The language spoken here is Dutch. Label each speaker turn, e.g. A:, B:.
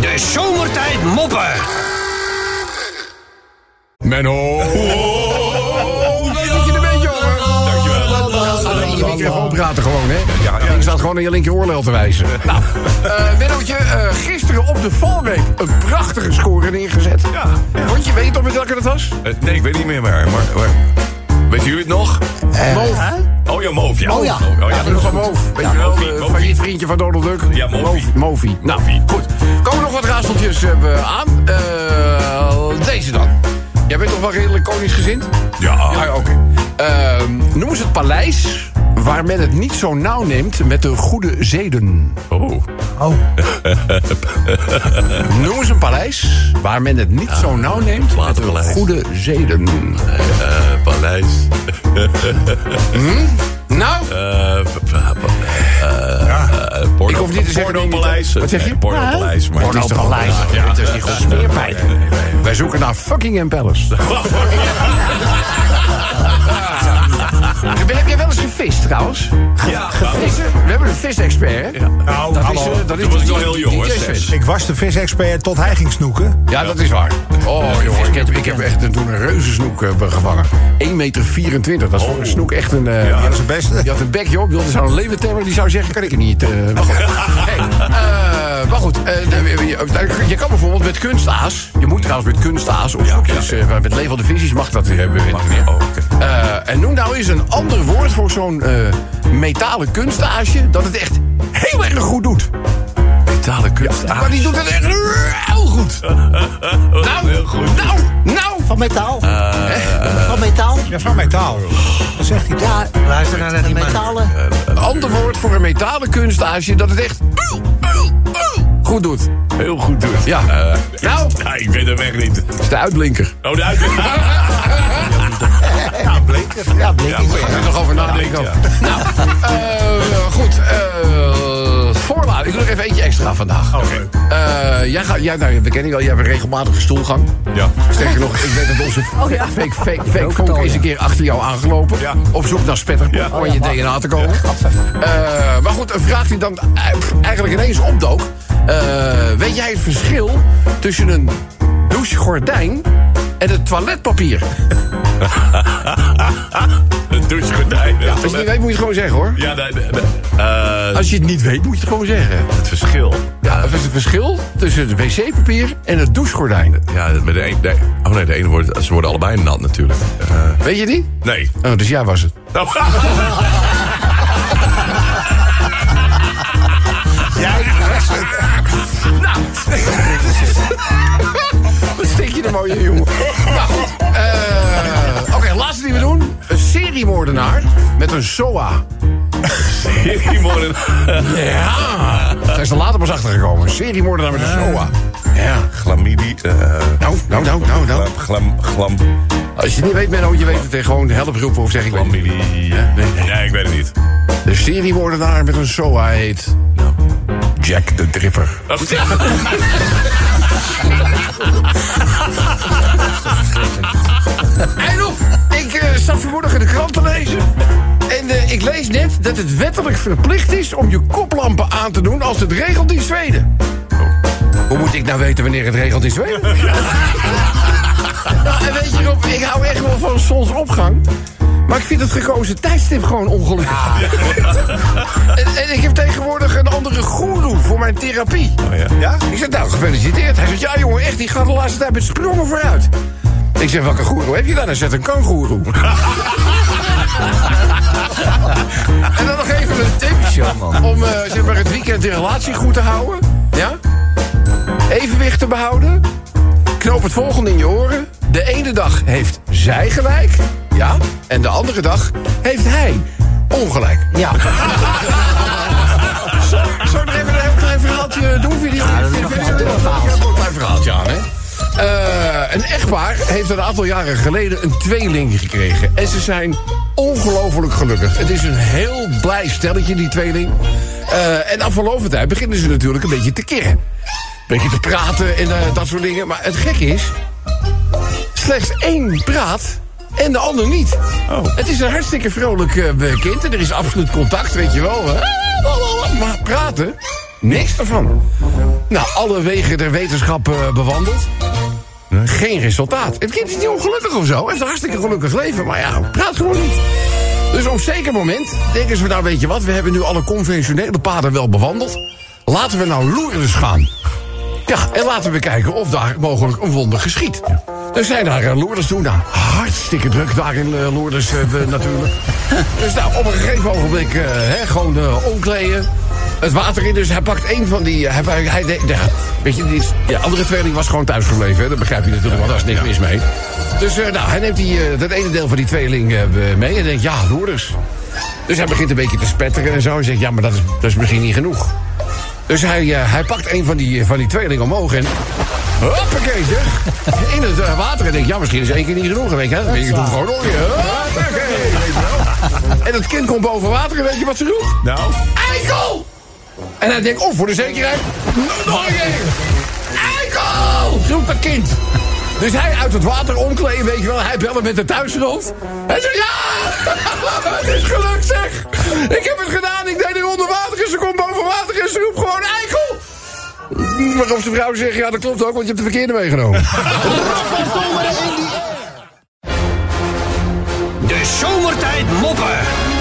A: De zomertijd moppen.
B: Menno.
C: Zit je een beetje over?
B: Je microfoon praten gewoon, hè? Ja, Ik zat gewoon in je linker oorlel te wijzen.
C: Eh, Mennootje, eh, gisteren op de valweek een prachtige score neergezet.
D: Ja.
C: Want je weet toch met welke dat was?
D: Eh, nee, ik weet niet meer waar. Maar, maar- weten jullie het nog?
C: Moof.
D: Oh ja, Moof, ja.
B: Oh ja.
D: Oh, ja.
C: Ja, dat is van Moof. Weet je wel,
D: Mofi,
C: eh,
D: Mofi.
C: favoriet vriendje van Donald Duck.
D: Ja, Mofi.
C: Moof- Mofi. Nou, goed. Komen nog wat raadseltjes eh, we aan. Eh, deze dan. Jij bent toch wel redelijk koningsgezind?
D: Ja.
C: Ah, ja, oké. Ehm, noem eens het paleis waar men het niet zo nauw neemt met de goede zeden.
D: Oh.
C: Noem eens een paleis waar men het niet zo nauw neemt met de
D: Waterpaleis.
C: goede zeden.
D: Eh, paleis.
C: Nou,
D: Eh, p- p- eh, eh, porno-
C: Ik hoef niet te zeggen dat je niet-
D: Pornopaleis.
C: Wat zeg je?
D: Nee, Pornopaleis. maar-
C: het is toch paleis?
D: Ja.
C: Het is niet gewoon smeerpijp. Wij zoeken naar fucking Palace. Heb jij wel eens gevist trouwens?
D: Ja, nou,
C: Vissen? We hebben een visexpert, hè?
B: Nou,
C: Dat is,
B: hallo.
C: eh, dat is
D: Toen was ik nog
C: die-
D: heel
C: die-
D: jong,
C: die
D: hoor,
C: Jason.
D: zes.
B: Ik was de visexpert tot hij ging snoeken.
C: Ja, dat is waar. Oh, jongen, ik heb, ik heb echt een, toen een reuzensnoek eh, gevangen. 1,24 meter. Dat is voor een snoek echt een... eh,
B: Ja, dat is het beste.
C: Die had een bekje op, wilde zou een leeuwentemmer. Die zou zeggen, kan ik het niet. eh, maar goed. Hey, eh, maar goed, eh, de- je kan bijvoorbeeld met kunstaas... Je moet trouwens met kunstaas of zoekjes... eh, met levende visies mag dat eh, hebben. we niet meer.
D: Oh, oké.
C: Eh, en noem nou eens een ander woord voor zo'n eh, metalen kunstaasje... dat het echt heel erg goed doet.
D: Metalen kunst.
C: Maar die doet het echt heel goed. Nou,
D: heel goed.
C: nou, nou.
E: Van metaal. van metaal.
B: Ja, van metaal. Dat zegt hij toch?
E: Ja,
F: Luister naar
E: een
F: die man.
E: metalen.
C: Een ander woord voor een metalen kunstaasje... dat het echt heel, heel, heel goed doet.
D: Heel goed doet.
C: Ja.
D: Eh,
C: Nou.
D: ja, ik weet het weg niet.
C: Dat is de uitblinker.
D: Oh, de uit.
B: Ja, bleker. Ja,
D: Ja, maar-
C: Ga er nog over nadenken.
D: Ja.
C: Nou, eh, goed. eh voorlaat. Ik doe nog even eentje extra vandaag.
D: Oké.
C: Eh, jij gaat, jij, nou, we kennen je wel, jij hebt een regelmatige stoelgang.
D: Ja.
C: Sterker nog, ik weet dat onze fake, fake, fake vonk
E: vertel,
C: is
E: ja.
C: een keer achter jou aangelopen.
D: Ja.
C: Op zoek naar spetterpot
D: Ja.
C: om aan je DNA te komen. Eh, maar goed, een vraag die dan eh, pff, eigenlijk ineens opdook. Eh, weet jij het verschil tussen een douchegordijn en het toiletpapier?
D: Een douchegordijn.
C: Als je het niet weet, moet je het gewoon zeggen hoor.
D: Ja, nee, nee, nee. Eh,
C: Als je het niet weet, moet je het gewoon zeggen.
D: het verschil.
C: Ja, wat is het verschil tussen het wc-papier en het douchegordijn?
D: Ja, met de een, nee. Oh nee, de ene wordt, ze worden allebei nat natuurlijk. Eh,
C: Weet je niet?
D: nee.
C: Oh, dus jij was het.
D: Nou,
C: Wat stik je er mooi in, jongen. Maar goed. eh, Oké, laatste die we doen. Een seriemoordenaar met een SOA.
D: die worden-
C: Ja. Zijn ze later pas achtergekomen. Een seriemoordenaar met een SOA. Ja.
D: Chlamydie. eh,
C: Nou, nou, nou, nou, nou.
D: glam, glam, glam.
C: Als je het niet weet, Menno, je weet het. hè. Gewoon help roepen of zeg ik weet het niet.
D: Chlamydie.
C: nee, nee.
D: Nee, ik weet het niet.
C: De seriemoordenaar met een SOA heet... Jack de Dripper.
D: Oh, ja.
C: Eindhof, ik eh, zat vanmorgen de krant te lezen. En eh, ik lees net dat het wettelijk verplicht is om je koplampen aan te doen als het regent in Zweden. Oh. Hoe moet ik nou weten wanneer het regent in Zweden? nou, en weet je Rob, ik hou echt wel van zonsopgang. Maar ik vind het gekozen tijdstip gewoon ongelukkig. en, en ik heb tegenwoordig een andere goeroe voor mijn therapie.
D: Oh, ja.
B: Ja?
C: Ik zeg, nou, gefeliciteerd. Hij zegt, ja jongen, echt, die gaat de laatste tijd met sprongen vooruit. Ik zeg, welke goeroe heb je dan? Hij zegt, een kangoeroe. en dan nog even een tipje om eh, zeg maar, het weekend de relatie goed te houden. Ja? Evenwicht te behouden. Knoop het volgende in je oren. De ene dag heeft zij gelijk. Ja. En de andere dag heeft hij ongelijk.
E: Ja,
C: Zo nog even een heel klein verhaaltje doen, video. Ja,
E: dat is nog wel een duur verhaal.
C: Ja, wel een klein verhaaltje aan, hè? Eh, een echtpaar heeft een aantal jaren geleden een tweeling gekregen. En ze zijn ongelooflijk gelukkig. Het is een heel blij stelletje, die tweeling. Eh, en na verloop van tijd beginnen ze natuurlijk een beetje te kirren. Beetje te praten en eh, dat soort dingen. Maar het gekke is, slechts één praat en de ander niet. Het is een hartstikke vrolijk eh, kind en er is absoluut contact, weet je wel. hè. Maar praten? Niks ervan. Nou, alle wegen der wetenschap eh, bewandeld. Geen resultaat. Het kind is niet ongelukkig of zo. Hij heeft een hartstikke gelukkig leven, maar ja, praat gewoon niet. Dus op een zeker moment denken ze, nou weet je wat... we hebben nu alle conventionele paden wel bewandeld. Laten we nou loerders gaan. Ja, en laten we kijken of daar mogelijk een wonder geschiet. Dus zijn daar eh, Lourdes toe. Nou, hartstikke druk daar in eh, Lourdes eh, de- natuurlijk. Dus nou, op een gegeven ogenblik eh, hè, gewoon eh, omkleden. Het water in, dus hij pakt een van die... eh, Hij, hij, hij de- ja, weet je, die de andere tweeling was gewoon thuisgebleven. Hè? Dat begrijp je natuurlijk, want daar is niks mis mee. Dus eh, nou, hij neemt die, eh, dat ene deel van die tweeling eh, mee en denkt, ja, Lourdes. Dus hij begint een beetje te spetteren en zo. Hij zegt, ja, maar dat is, dat is misschien niet genoeg. Dus hij, eh, hij pakt een van die, van die tweelingen omhoog en... Hoppakee, zeg. In het eh, water. En denk ja, misschien is één keer niet genoeg. Weet je, hè? Weet je, ik doe gewoon nog Hoppakee, weet je wel. En dat kind komt boven water en weet je wat ze doet?
D: Nou,
C: Eikel! En hij denkt, oh, voor de zekerheid, n- nog een keer. Eikel! Roept dat kind. Dus hij uit het water omkleden, weet je wel. Hij belde met de thuisgenoot. Hij zegt, ja! het is gelukt, zeg! Ik heb het gedaan, ik deed het onder water en ze komt boven water en ze roept gewoon eikel! Waarop zijn vrouw zegt, ja, dat klopt ook, want je hebt de verkeerde meegenomen.
A: De zomertijd moppen.